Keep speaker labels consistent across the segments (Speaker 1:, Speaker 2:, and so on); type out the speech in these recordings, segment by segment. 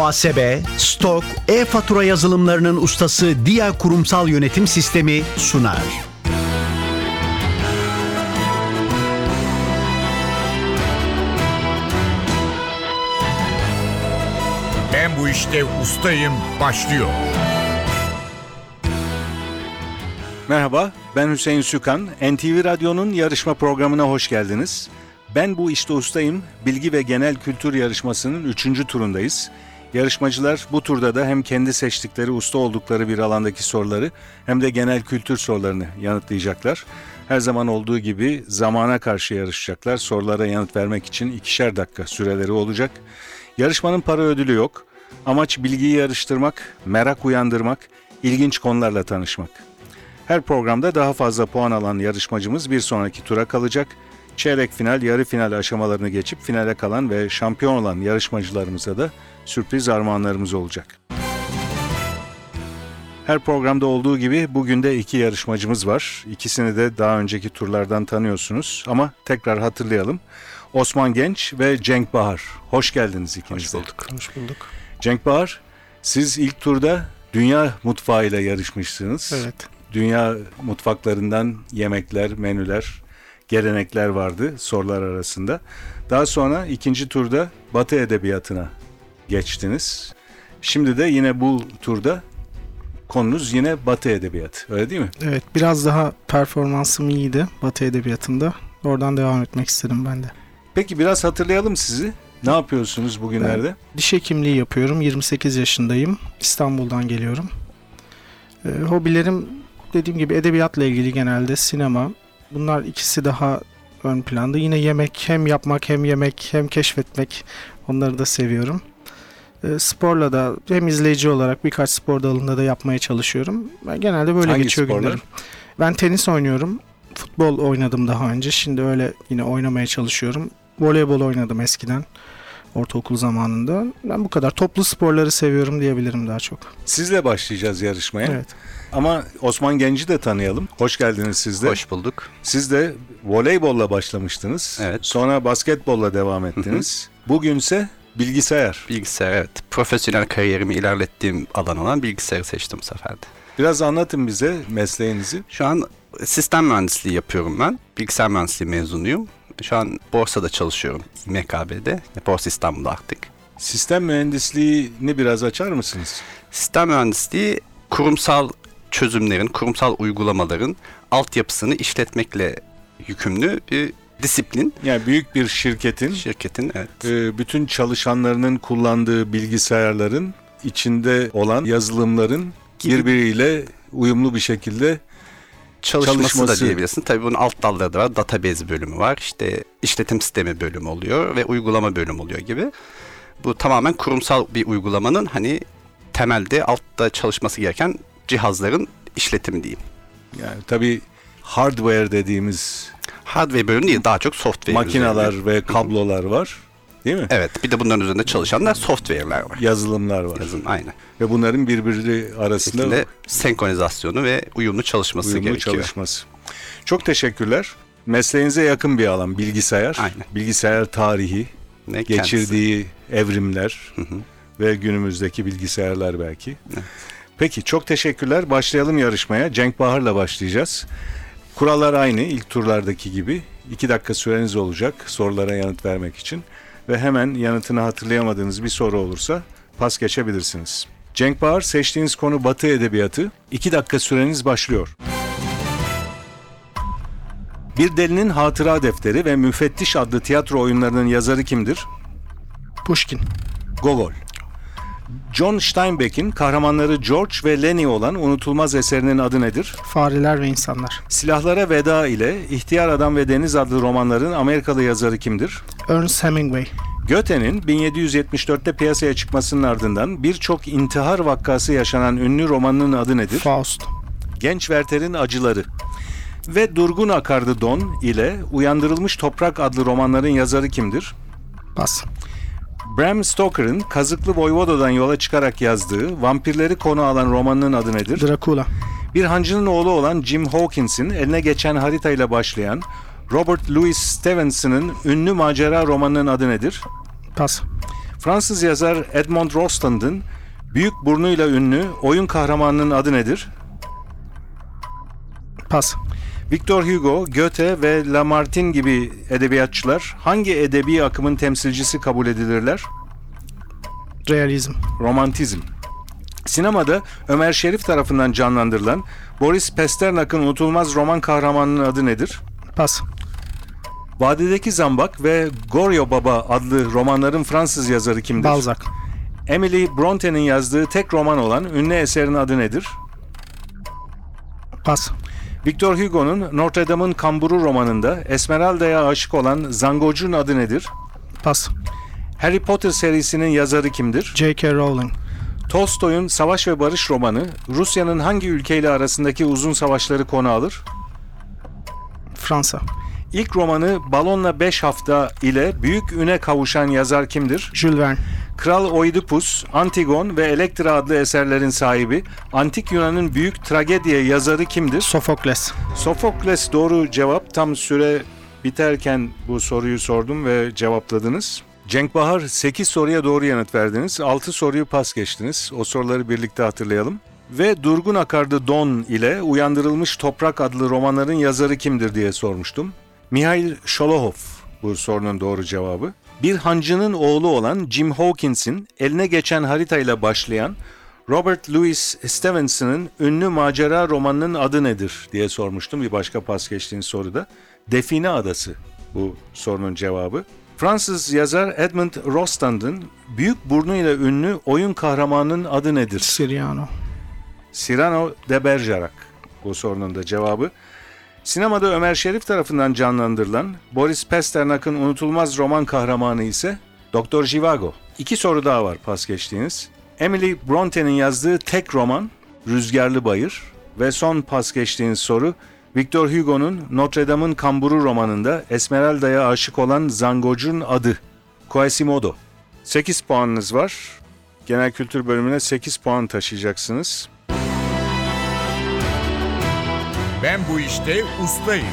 Speaker 1: muhasebe, stok, e-fatura yazılımlarının ustası Dia Kurumsal Yönetim Sistemi sunar.
Speaker 2: Ben bu işte ustayım başlıyor.
Speaker 3: Merhaba, ben Hüseyin Sükan. NTV Radyo'nun yarışma programına hoş geldiniz. Ben bu işte ustayım. Bilgi ve genel kültür yarışmasının 3. turundayız. Yarışmacılar bu turda da hem kendi seçtikleri usta oldukları bir alandaki soruları hem de genel kültür sorularını yanıtlayacaklar. Her zaman olduğu gibi zamana karşı yarışacaklar. Sorulara yanıt vermek için ikişer dakika süreleri olacak. Yarışmanın para ödülü yok. Amaç bilgiyi yarıştırmak, merak uyandırmak, ilginç konularla tanışmak. Her programda daha fazla puan alan yarışmacımız bir sonraki tura kalacak. Çeyrek final, yarı final aşamalarını geçip finale kalan ve şampiyon olan yarışmacılarımıza da sürpriz armağanlarımız olacak. Her programda olduğu gibi bugün de iki yarışmacımız var. İkisini de daha önceki turlardan tanıyorsunuz ama tekrar hatırlayalım. Osman Genç ve Cenk Bahar. Hoş geldiniz ikiniz de.
Speaker 4: Hoş bulduk.
Speaker 3: Cenk Bahar, siz ilk turda dünya mutfağıyla yarışmışsınız.
Speaker 4: Evet.
Speaker 3: Dünya mutfaklarından yemekler, menüler, gelenekler vardı sorular arasında. Daha sonra ikinci turda Batı edebiyatına geçtiniz. Şimdi de yine bu turda konunuz yine Batı edebiyatı. Öyle değil mi?
Speaker 4: Evet biraz daha performansım iyiydi Batı Edebiyatı'nda. Oradan devam etmek istedim ben de.
Speaker 3: Peki biraz hatırlayalım sizi. Ne yapıyorsunuz bugünlerde?
Speaker 4: Diş hekimliği yapıyorum. 28 yaşındayım. İstanbul'dan geliyorum. Ee, hobilerim dediğim gibi edebiyatla ilgili genelde sinema. Bunlar ikisi daha ön planda. Yine yemek hem yapmak hem yemek hem keşfetmek. Onları da seviyorum. Ee, sporla da hem izleyici olarak birkaç spor dalında da yapmaya çalışıyorum. Ben genelde böyle
Speaker 3: Hangi
Speaker 4: geçiyor
Speaker 3: sporlar?
Speaker 4: günlerim. Ben tenis oynuyorum. Futbol oynadım daha önce. Şimdi öyle yine oynamaya çalışıyorum. Voleybol oynadım eskiden ortaokul zamanında. Ben bu kadar toplu sporları seviyorum diyebilirim daha çok.
Speaker 3: Sizle başlayacağız yarışmaya.
Speaker 4: Evet.
Speaker 3: Ama Osman Genci de tanıyalım. Hoş geldiniz siz de.
Speaker 5: Hoş bulduk.
Speaker 3: Siz de voleybolla başlamıştınız.
Speaker 5: Evet.
Speaker 3: Sonra basketbolla devam ettiniz. Bugünse bilgisayar.
Speaker 5: Bilgisayar evet. Profesyonel kariyerimi ilerlettiğim alan olan bilgisayarı seçtim bu sefer de.
Speaker 3: Biraz anlatın bize mesleğinizi.
Speaker 5: Şu an sistem mühendisliği yapıyorum ben. Bilgisayar mühendisliği mezunuyum. Şu an borsada çalışıyorum. MKB'de. Borsa İstanbul'da artık.
Speaker 3: Sistem mühendisliğini biraz açar mısınız?
Speaker 5: Sistem mühendisliği kurumsal çözümlerin, kurumsal uygulamaların altyapısını işletmekle yükümlü bir disiplin.
Speaker 3: Yani büyük bir şirketin
Speaker 5: Şirketin evet.
Speaker 3: e, bütün çalışanlarının kullandığı bilgisayarların içinde olan yazılımların birbiriyle uyumlu bir şekilde
Speaker 5: Çalışması,
Speaker 3: çalışması.
Speaker 5: da diyebilirsin. Tabii bunun alt dalları da var. Database bölümü var. İşte işletim sistemi bölümü oluyor ve uygulama bölümü oluyor gibi. Bu tamamen kurumsal bir uygulamanın hani temelde altta çalışması gereken cihazların işletimi diyeyim.
Speaker 3: yani tabii hardware dediğimiz
Speaker 5: Hardware bölümü değil daha çok software.
Speaker 3: makineler
Speaker 5: üzerine.
Speaker 3: ve kablolar var. Değil mi?
Speaker 5: Evet bir de bunların üzerinde çalışanlar software'ler var.
Speaker 3: Yazılımlar var.
Speaker 5: Yazın aynı.
Speaker 3: Ve bunların birbiri arasında
Speaker 5: Şeklinde senkronizasyonu ve uyumlu çalışması
Speaker 3: uyumlu
Speaker 5: gerekiyor.
Speaker 3: çalışması. Çok teşekkürler. Mesleğinize yakın bir alan bilgisayar.
Speaker 5: Aynen.
Speaker 3: Bilgisayar tarihi,
Speaker 5: Ne kendisi.
Speaker 3: geçirdiği evrimler ve günümüzdeki bilgisayarlar belki. Peki çok teşekkürler. Başlayalım yarışmaya. Cenk Bahar'la başlayacağız. Kurallar aynı ilk turlardaki gibi. 2 dakika süreniz olacak sorulara yanıt vermek için. Ve hemen yanıtını hatırlayamadığınız bir soru olursa pas geçebilirsiniz. Cenk Bahar seçtiğiniz konu Batı Edebiyatı. 2 dakika süreniz başlıyor. Bir Delinin Hatıra Defteri ve Müfettiş adlı tiyatro oyunlarının yazarı kimdir?
Speaker 4: Pushkin.
Speaker 3: Gogol. John Steinbeck'in kahramanları George ve Lenny olan unutulmaz eserinin adı nedir?
Speaker 4: Fareler ve insanlar.
Speaker 3: Silahlara Veda ile İhtiyar Adam ve Deniz adlı romanların Amerikalı yazarı kimdir?
Speaker 4: Ernest Hemingway.
Speaker 3: Göte'nin 1774'te piyasaya çıkmasının ardından birçok intihar vakkası yaşanan ünlü romanının adı nedir?
Speaker 4: Faust.
Speaker 3: Genç Werther'in Acıları. Ve Durgun Akardı Don ile Uyandırılmış Toprak adlı romanların yazarı kimdir?
Speaker 4: Bas.
Speaker 3: Bram Stoker'ın Kazıklı Voyvoda'dan yola çıkarak yazdığı, vampirleri konu alan romanının adı nedir?
Speaker 4: Dracula.
Speaker 3: Bir hancının oğlu olan Jim Hawkins'in eline geçen haritayla başlayan Robert Louis Stevenson'ın ünlü macera romanının adı nedir?
Speaker 4: Pas.
Speaker 3: Fransız yazar Edmond Rostand büyük burnuyla ünlü oyun kahramanının adı nedir?
Speaker 4: Pas.
Speaker 3: Victor Hugo, Goethe ve Lamartine gibi edebiyatçılar hangi edebi akımın temsilcisi kabul edilirler?
Speaker 4: Realizm.
Speaker 3: Romantizm. Sinemada Ömer Şerif tarafından canlandırılan Boris Pasternak'ın unutulmaz roman kahramanının adı nedir?
Speaker 4: Pas.
Speaker 3: Vadideki Zambak ve Goryo Baba adlı romanların Fransız yazarı kimdir?
Speaker 4: Balzac.
Speaker 3: Emily Bronte'nin yazdığı tek roman olan ünlü eserin adı nedir?
Speaker 4: Pas.
Speaker 3: Victor Hugo'nun Notre Dame'ın Kamburu romanında Esmeralda'ya aşık olan Zangoc'un adı nedir?
Speaker 4: Pas.
Speaker 3: Harry Potter serisinin yazarı kimdir?
Speaker 4: J.K. Rowling.
Speaker 3: Tolstoy'un Savaş ve Barış romanı Rusya'nın hangi ülkeyle arasındaki uzun savaşları konu alır?
Speaker 4: Fransa.
Speaker 3: İlk romanı Balonla 5 Hafta ile büyük üne kavuşan yazar kimdir?
Speaker 4: Jules Verne.
Speaker 3: Kral Oidipus, Antigon ve Elektra adlı eserlerin sahibi, Antik Yunan'ın büyük tragediye yazarı kimdir?
Speaker 4: Sofokles.
Speaker 3: Sofokles doğru cevap. Tam süre biterken bu soruyu sordum ve cevapladınız. Cenk Bahar 8 soruya doğru yanıt verdiniz. 6 soruyu pas geçtiniz. O soruları birlikte hatırlayalım. Ve Durgun Akardı Don ile Uyandırılmış Toprak adlı romanların yazarı kimdir diye sormuştum. Mihail Şolohov bu sorunun doğru cevabı. Bir hancının oğlu olan Jim Hawkins'in eline geçen haritayla başlayan Robert Louis Stevenson'ın ünlü macera romanının adı nedir diye sormuştum bir başka pas geçtiğin soruda. Define Adası bu sorunun cevabı. Fransız yazar Edmond Rostand'ın büyük burnuyla ünlü oyun kahramanının adı nedir?
Speaker 4: Siriano.
Speaker 3: Cyrano de Bergerac. Bu sorunun da cevabı. Sinemada Ömer Şerif tarafından canlandırılan Boris Pasternak'ın unutulmaz roman kahramanı ise Doktor Jivago. İki soru daha var pas geçtiğiniz. Emily Bronte'nin yazdığı tek roman Rüzgarlı Bayır ve son pas geçtiğiniz soru Victor Hugo'nun Notre Dame'ın Kamburu romanında Esmeralda'ya aşık olan zangocun adı Quasimodo. 8 puanınız var. Genel kültür bölümüne 8 puan taşıyacaksınız.
Speaker 2: Ben bu işte ustayım.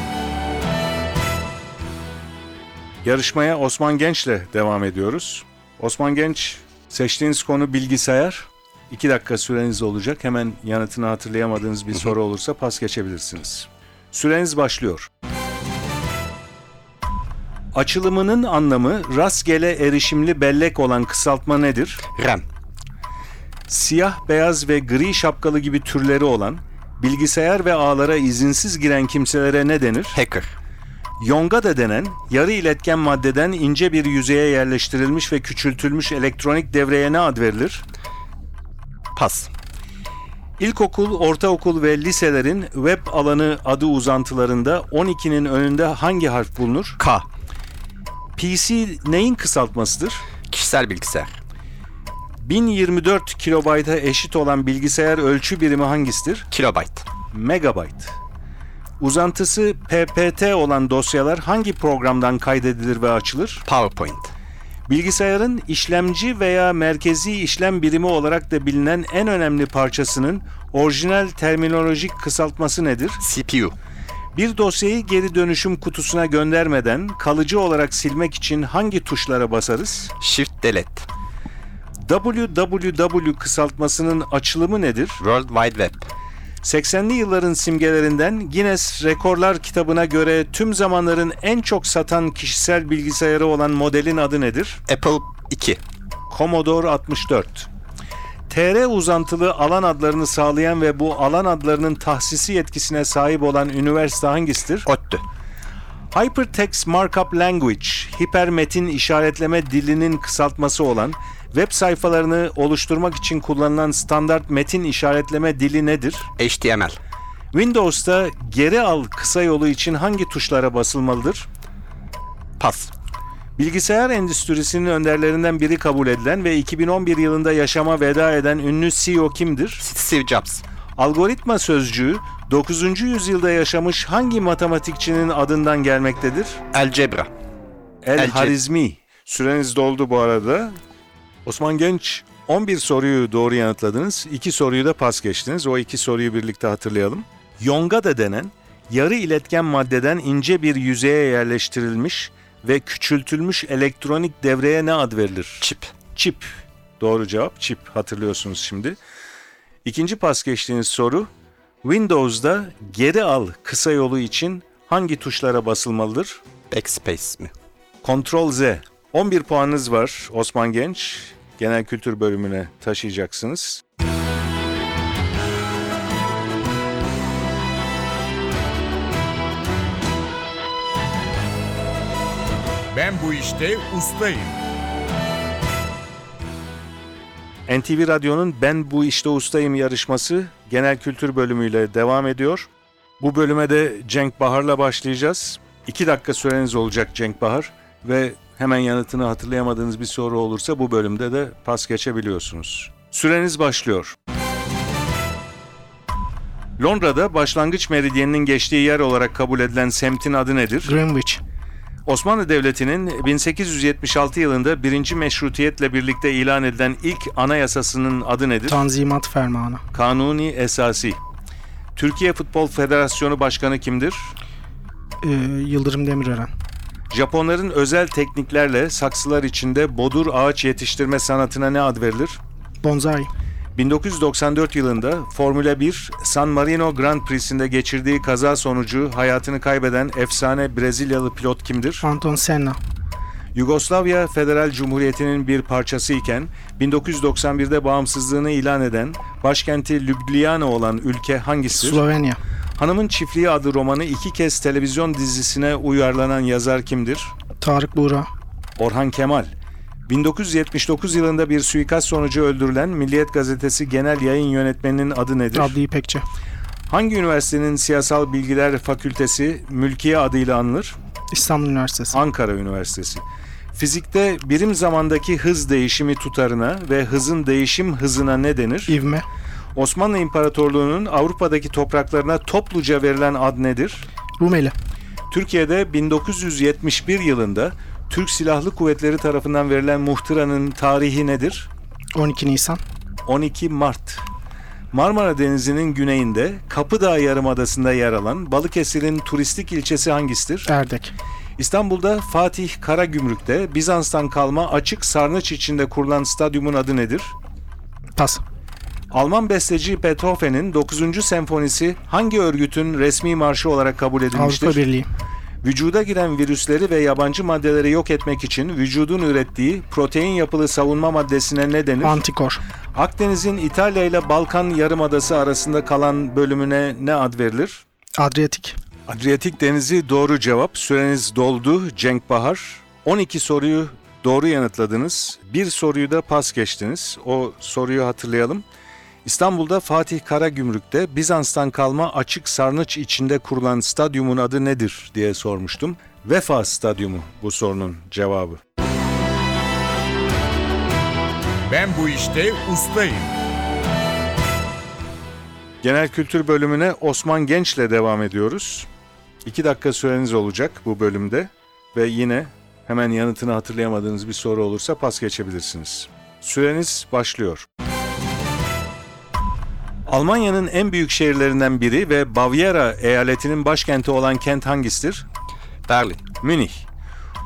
Speaker 3: Yarışmaya Osman Genç'le devam ediyoruz. Osman Genç, seçtiğiniz konu bilgisayar. İki dakika süreniz olacak. Hemen yanıtını hatırlayamadığınız bir soru olursa pas geçebilirsiniz. Süreniz başlıyor. Açılımının anlamı rastgele erişimli bellek olan kısaltma nedir?
Speaker 5: RAM.
Speaker 3: Siyah, beyaz ve gri şapkalı gibi türleri olan, bilgisayar ve ağlara izinsiz giren kimselere ne denir?
Speaker 5: Hacker.
Speaker 3: Yonga da denen yarı iletken maddeden ince bir yüzeye yerleştirilmiş ve küçültülmüş elektronik devreye ne ad verilir?
Speaker 5: Pas.
Speaker 3: İlkokul, ortaokul ve liselerin web alanı adı uzantılarında 12'nin önünde hangi harf bulunur?
Speaker 5: K.
Speaker 3: PC neyin kısaltmasıdır?
Speaker 5: Kişisel bilgisayar.
Speaker 3: 1024 kilobayta eşit olan bilgisayar ölçü birimi hangisidir?
Speaker 5: Kilobyte.
Speaker 3: Megabyte. Uzantısı PPT olan dosyalar hangi programdan kaydedilir ve açılır?
Speaker 5: PowerPoint.
Speaker 3: Bilgisayarın işlemci veya merkezi işlem birimi olarak da bilinen en önemli parçasının orijinal terminolojik kısaltması nedir?
Speaker 5: CPU.
Speaker 3: Bir dosyayı geri dönüşüm kutusuna göndermeden kalıcı olarak silmek için hangi tuşlara basarız?
Speaker 5: Shift Delete.
Speaker 3: www kısaltmasının açılımı nedir?
Speaker 5: World Wide Web.
Speaker 3: 80'li yılların simgelerinden Guinness Rekorlar kitabına göre tüm zamanların en çok satan kişisel bilgisayarı olan modelin adı nedir?
Speaker 5: Apple 2.
Speaker 3: Commodore 64. TR uzantılı alan adlarını sağlayan ve bu alan adlarının tahsisi yetkisine sahip olan üniversite hangisidir?
Speaker 5: ODTÜ.
Speaker 3: Hypertext Markup Language, hipermetin işaretleme dilinin kısaltması olan web sayfalarını oluşturmak için kullanılan standart metin işaretleme dili nedir?
Speaker 5: HTML.
Speaker 3: Windows'ta geri al kısa yolu için hangi tuşlara basılmalıdır?
Speaker 5: Pas.
Speaker 3: Bilgisayar endüstrisinin önderlerinden biri kabul edilen ve 2011 yılında yaşama veda eden ünlü CEO kimdir?
Speaker 5: Steve Jobs.
Speaker 3: Algoritma sözcüğü 9. yüzyılda yaşamış hangi matematikçinin adından gelmektedir?
Speaker 5: Algebra.
Speaker 3: El
Speaker 5: Elce.
Speaker 3: Harizmi. Süreniz doldu bu arada. Osman Genç 11 soruyu doğru yanıtladınız. 2 soruyu da pas geçtiniz. O iki soruyu birlikte hatırlayalım. Yonga da denen yarı iletken maddeden ince bir yüzeye yerleştirilmiş ve küçültülmüş elektronik devreye ne ad verilir?
Speaker 5: Chip.
Speaker 3: Çip. Doğru cevap çip. Hatırlıyorsunuz şimdi. İkinci pas geçtiğiniz soru Windows'da geri al kısa yolu için hangi tuşlara basılmalıdır?
Speaker 5: Backspace mi?
Speaker 3: Ctrl Z. 11 puanınız var Osman Genç. Genel kültür bölümüne taşıyacaksınız.
Speaker 2: Ben bu işte ustayım.
Speaker 3: NTV Radyo'nun Ben Bu İşte Ustayım yarışması genel kültür bölümüyle devam ediyor. Bu bölüme de Cenk Bahar'la başlayacağız. 2 dakika süreniz olacak Cenk Bahar ve hemen yanıtını hatırlayamadığınız bir soru olursa bu bölümde de pas geçebiliyorsunuz. Süreniz başlıyor. Londra'da başlangıç meridyeninin geçtiği yer olarak kabul edilen semtin adı nedir?
Speaker 4: Greenwich.
Speaker 3: Osmanlı Devleti'nin 1876 yılında 1. Meşrutiyet'le birlikte ilan edilen ilk anayasasının adı nedir?
Speaker 4: Tanzimat Fermanı.
Speaker 3: Kanuni Esasi. Türkiye Futbol Federasyonu Başkanı kimdir?
Speaker 4: Ee, Yıldırım Demirören.
Speaker 3: Japonların özel tekniklerle saksılar içinde bodur ağaç yetiştirme sanatına ne ad verilir?
Speaker 4: Bonsai.
Speaker 3: 1994 yılında Formula 1 San Marino Grand Prix'sinde geçirdiği kaza sonucu hayatını kaybeden efsane Brezilyalı pilot kimdir?
Speaker 4: Anton Senna.
Speaker 3: Yugoslavya Federal Cumhuriyeti'nin bir parçası iken 1991'de bağımsızlığını ilan eden başkenti Ljubljana olan ülke hangisidir?
Speaker 4: Slovenya.
Speaker 3: Hanımın Çiftliği adlı romanı iki kez televizyon dizisine uyarlanan yazar kimdir?
Speaker 4: Tarık Buğra.
Speaker 3: Orhan Kemal. 1979 yılında bir suikast sonucu öldürülen Milliyet Gazetesi Genel Yayın Yönetmeni'nin adı nedir?
Speaker 4: Abdi İpekçi.
Speaker 3: Hangi üniversitenin Siyasal Bilgiler Fakültesi Mülkiye adıyla anılır?
Speaker 4: İstanbul Üniversitesi.
Speaker 3: Ankara Üniversitesi. Fizikte birim zamandaki hız değişimi tutarına ve hızın değişim hızına ne denir?
Speaker 4: İvme.
Speaker 3: Osmanlı İmparatorluğu'nun Avrupa'daki topraklarına topluca verilen ad nedir?
Speaker 4: Rumeli.
Speaker 3: Türkiye'de 1971 yılında Türk Silahlı Kuvvetleri tarafından verilen muhtıranın tarihi nedir?
Speaker 4: 12 Nisan.
Speaker 3: 12 Mart. Marmara Denizi'nin güneyinde Kapıdağ Yarımadası'nda yer alan Balıkesir'in turistik ilçesi hangisidir?
Speaker 4: Erdek.
Speaker 3: İstanbul'da Fatih Karagümrük'te Bizans'tan kalma açık sarnıç içinde kurulan stadyumun adı nedir?
Speaker 4: Pas.
Speaker 3: Alman besteci Beethoven'in 9. senfonisi hangi örgütün resmi marşı olarak kabul edilmiştir?
Speaker 4: Avrupa Birliği.
Speaker 3: Vücuda giren virüsleri ve yabancı maddeleri yok etmek için vücudun ürettiği protein yapılı savunma maddesine ne denir?
Speaker 4: Antikor.
Speaker 3: Akdeniz'in İtalya ile Balkan yarımadası arasında kalan bölümüne ne ad verilir?
Speaker 4: Adriyatik.
Speaker 3: Adriyatik Denizi doğru cevap. Süreniz doldu Cenk Bahar. 12 soruyu doğru yanıtladınız. Bir soruyu da pas geçtiniz. O soruyu hatırlayalım. İstanbul'da Fatih Karagümrük'te Bizans'tan kalma açık sarnıç içinde kurulan stadyumun adı nedir diye sormuştum. Vefa Stadyumu bu sorunun cevabı.
Speaker 2: Ben bu işte ustayım.
Speaker 3: Genel kültür bölümüne Osman Genç'le devam ediyoruz. İki dakika süreniz olacak bu bölümde ve yine hemen yanıtını hatırlayamadığınız bir soru olursa pas geçebilirsiniz. Süreniz başlıyor. Almanya'nın en büyük şehirlerinden biri ve Bavyera eyaletinin başkenti olan kent hangisidir?
Speaker 5: Berlin.
Speaker 3: Münih.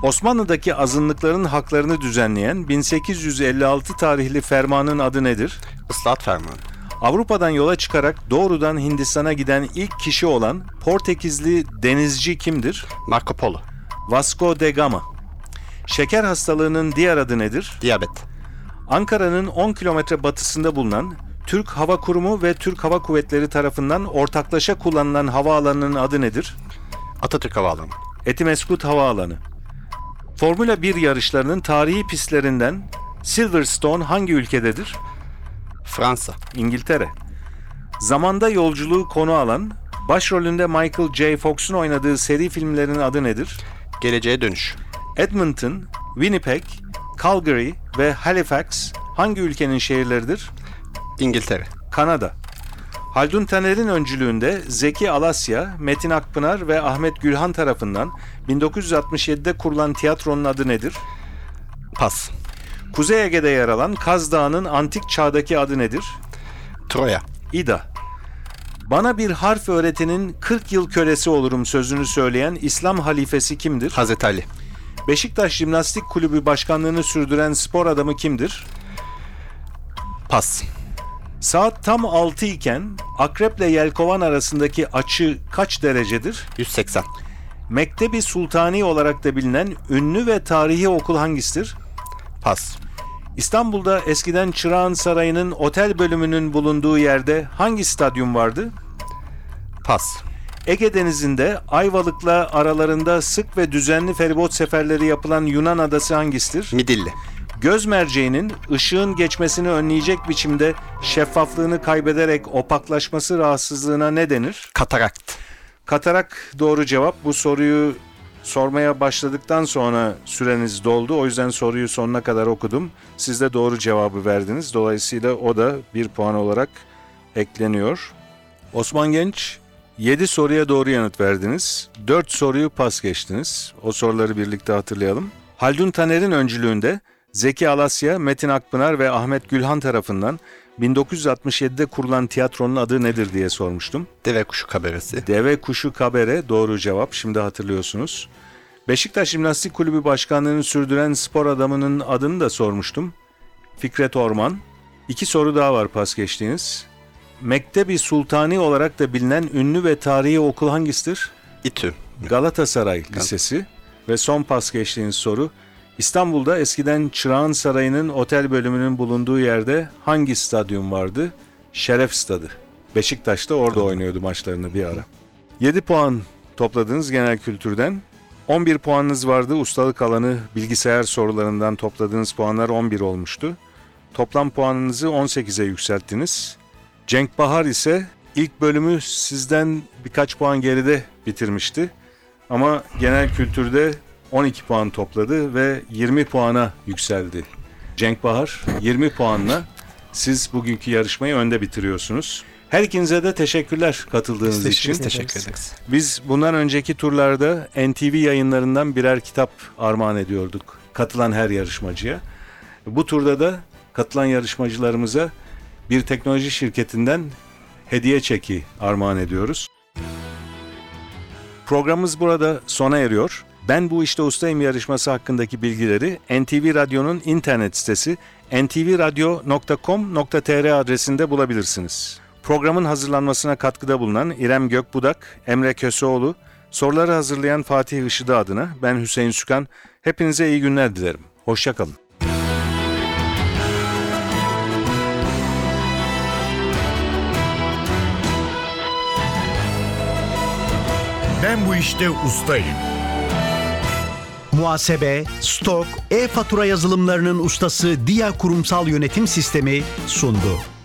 Speaker 3: Osmanlı'daki azınlıkların haklarını düzenleyen 1856 tarihli fermanın adı nedir?
Speaker 5: Islahat fermanı.
Speaker 3: Avrupa'dan yola çıkarak doğrudan Hindistan'a giden ilk kişi olan Portekizli denizci kimdir?
Speaker 5: Marco Polo.
Speaker 3: Vasco de Gama. Şeker hastalığının diğer adı nedir?
Speaker 5: Diyabet.
Speaker 3: Ankara'nın 10 kilometre batısında bulunan Türk Hava Kurumu ve Türk Hava Kuvvetleri tarafından ortaklaşa kullanılan havaalanının adı nedir?
Speaker 5: Atatürk Havaalanı.
Speaker 3: Etimeskut Havaalanı. Formula 1 yarışlarının tarihi pistlerinden Silverstone hangi ülkededir?
Speaker 5: Fransa.
Speaker 3: İngiltere. Zamanda yolculuğu konu alan, başrolünde Michael J. Fox'un oynadığı seri filmlerin adı nedir?
Speaker 5: Geleceğe dönüş.
Speaker 3: Edmonton, Winnipeg, Calgary ve Halifax hangi ülkenin şehirleridir?
Speaker 5: İngiltere.
Speaker 3: Kanada. Haldun Taner'in öncülüğünde Zeki Alasya, Metin Akpınar ve Ahmet Gülhan tarafından 1967'de kurulan tiyatronun adı nedir?
Speaker 5: Pas.
Speaker 3: Kuzey Ege'de yer alan Kaz Dağı'nın antik çağdaki adı nedir?
Speaker 5: Troya.
Speaker 3: İda. Bana bir harf öğretenin 40 yıl kölesi olurum sözünü söyleyen İslam halifesi kimdir?
Speaker 5: Hazreti Ali.
Speaker 3: Beşiktaş Jimnastik Kulübü başkanlığını sürdüren spor adamı kimdir?
Speaker 5: Pas.
Speaker 3: Saat tam 6 iken Akrep ile Yelkovan arasındaki açı kaç derecedir?
Speaker 5: 180.
Speaker 3: Mektebi Sultani olarak da bilinen ünlü ve tarihi okul hangisidir?
Speaker 5: Pas.
Speaker 3: İstanbul'da eskiden Çırağan Sarayı'nın otel bölümünün bulunduğu yerde hangi stadyum vardı?
Speaker 5: Pas.
Speaker 3: Ege Denizi'nde Ayvalık'la aralarında sık ve düzenli feribot seferleri yapılan Yunan adası hangisidir?
Speaker 5: Midilli.
Speaker 3: Göz merceğinin ışığın geçmesini önleyecek biçimde şeffaflığını kaybederek opaklaşması rahatsızlığına ne denir?
Speaker 5: Katarakt.
Speaker 3: Katarak doğru cevap. Bu soruyu sormaya başladıktan sonra süreniz doldu. O yüzden soruyu sonuna kadar okudum. Siz de doğru cevabı verdiniz. Dolayısıyla o da bir puan olarak ekleniyor. Osman Genç 7 soruya doğru yanıt verdiniz. 4 soruyu pas geçtiniz. O soruları birlikte hatırlayalım. Haldun Taner'in öncülüğünde Zeki Alasya, Metin Akpınar ve Ahmet Gülhan tarafından 1967'de kurulan tiyatronun adı nedir diye sormuştum.
Speaker 5: Deve kuşu kaberesi.
Speaker 3: Deve kuşu kabere doğru cevap. Şimdi hatırlıyorsunuz. Beşiktaş Jimnastik Kulübü Başkanlığı'nı sürdüren spor adamının adını da sormuştum. Fikret Orman. İki soru daha var pas geçtiğiniz. Mektebi Sultani olarak da bilinen ünlü ve tarihi okul hangisidir?
Speaker 5: İTÜ.
Speaker 3: Galatasaray Lisesi. Ve son pas geçtiğiniz soru. İstanbul'da eskiden Çırağan Sarayı'nın otel bölümünün bulunduğu yerde hangi stadyum vardı? Şeref Stadı. Beşiktaş'ta orada oynuyordu maçlarını bir ara. 7 puan topladınız genel kültürden. 11 puanınız vardı. Ustalık alanı bilgisayar sorularından topladığınız puanlar 11 olmuştu. Toplam puanınızı 18'e yükselttiniz. Cenk Bahar ise ilk bölümü sizden birkaç puan geride bitirmişti. Ama genel kültürde 12 puan topladı ve 20 puana yükseldi. Cenk Bahar 20 puanla siz bugünkü yarışmayı önde bitiriyorsunuz. Her ikinize de teşekkürler katıldığınız için.
Speaker 4: Biz
Speaker 5: Teşekkür
Speaker 4: ederiz.
Speaker 5: ederiz.
Speaker 3: Biz bundan önceki turlarda NTV yayınlarından birer kitap armağan ediyorduk katılan her yarışmacıya. Bu turda da katılan yarışmacılarımıza bir teknoloji şirketinden hediye çeki armağan ediyoruz. Programımız burada sona eriyor. Ben bu işte ustayım yarışması hakkındaki bilgileri NTV Radyo'nun internet sitesi ntvradyo.com.tr adresinde bulabilirsiniz. Programın hazırlanmasına katkıda bulunan İrem Gökbudak, Emre Köseoğlu, soruları hazırlayan Fatih Işıdı adına ben Hüseyin Sükan. Hepinize iyi günler dilerim. Hoşçakalın.
Speaker 2: Ben bu işte ustayım.
Speaker 1: Muhasebe, stok, e-fatura yazılımlarının ustası Dia Kurumsal Yönetim Sistemi sundu.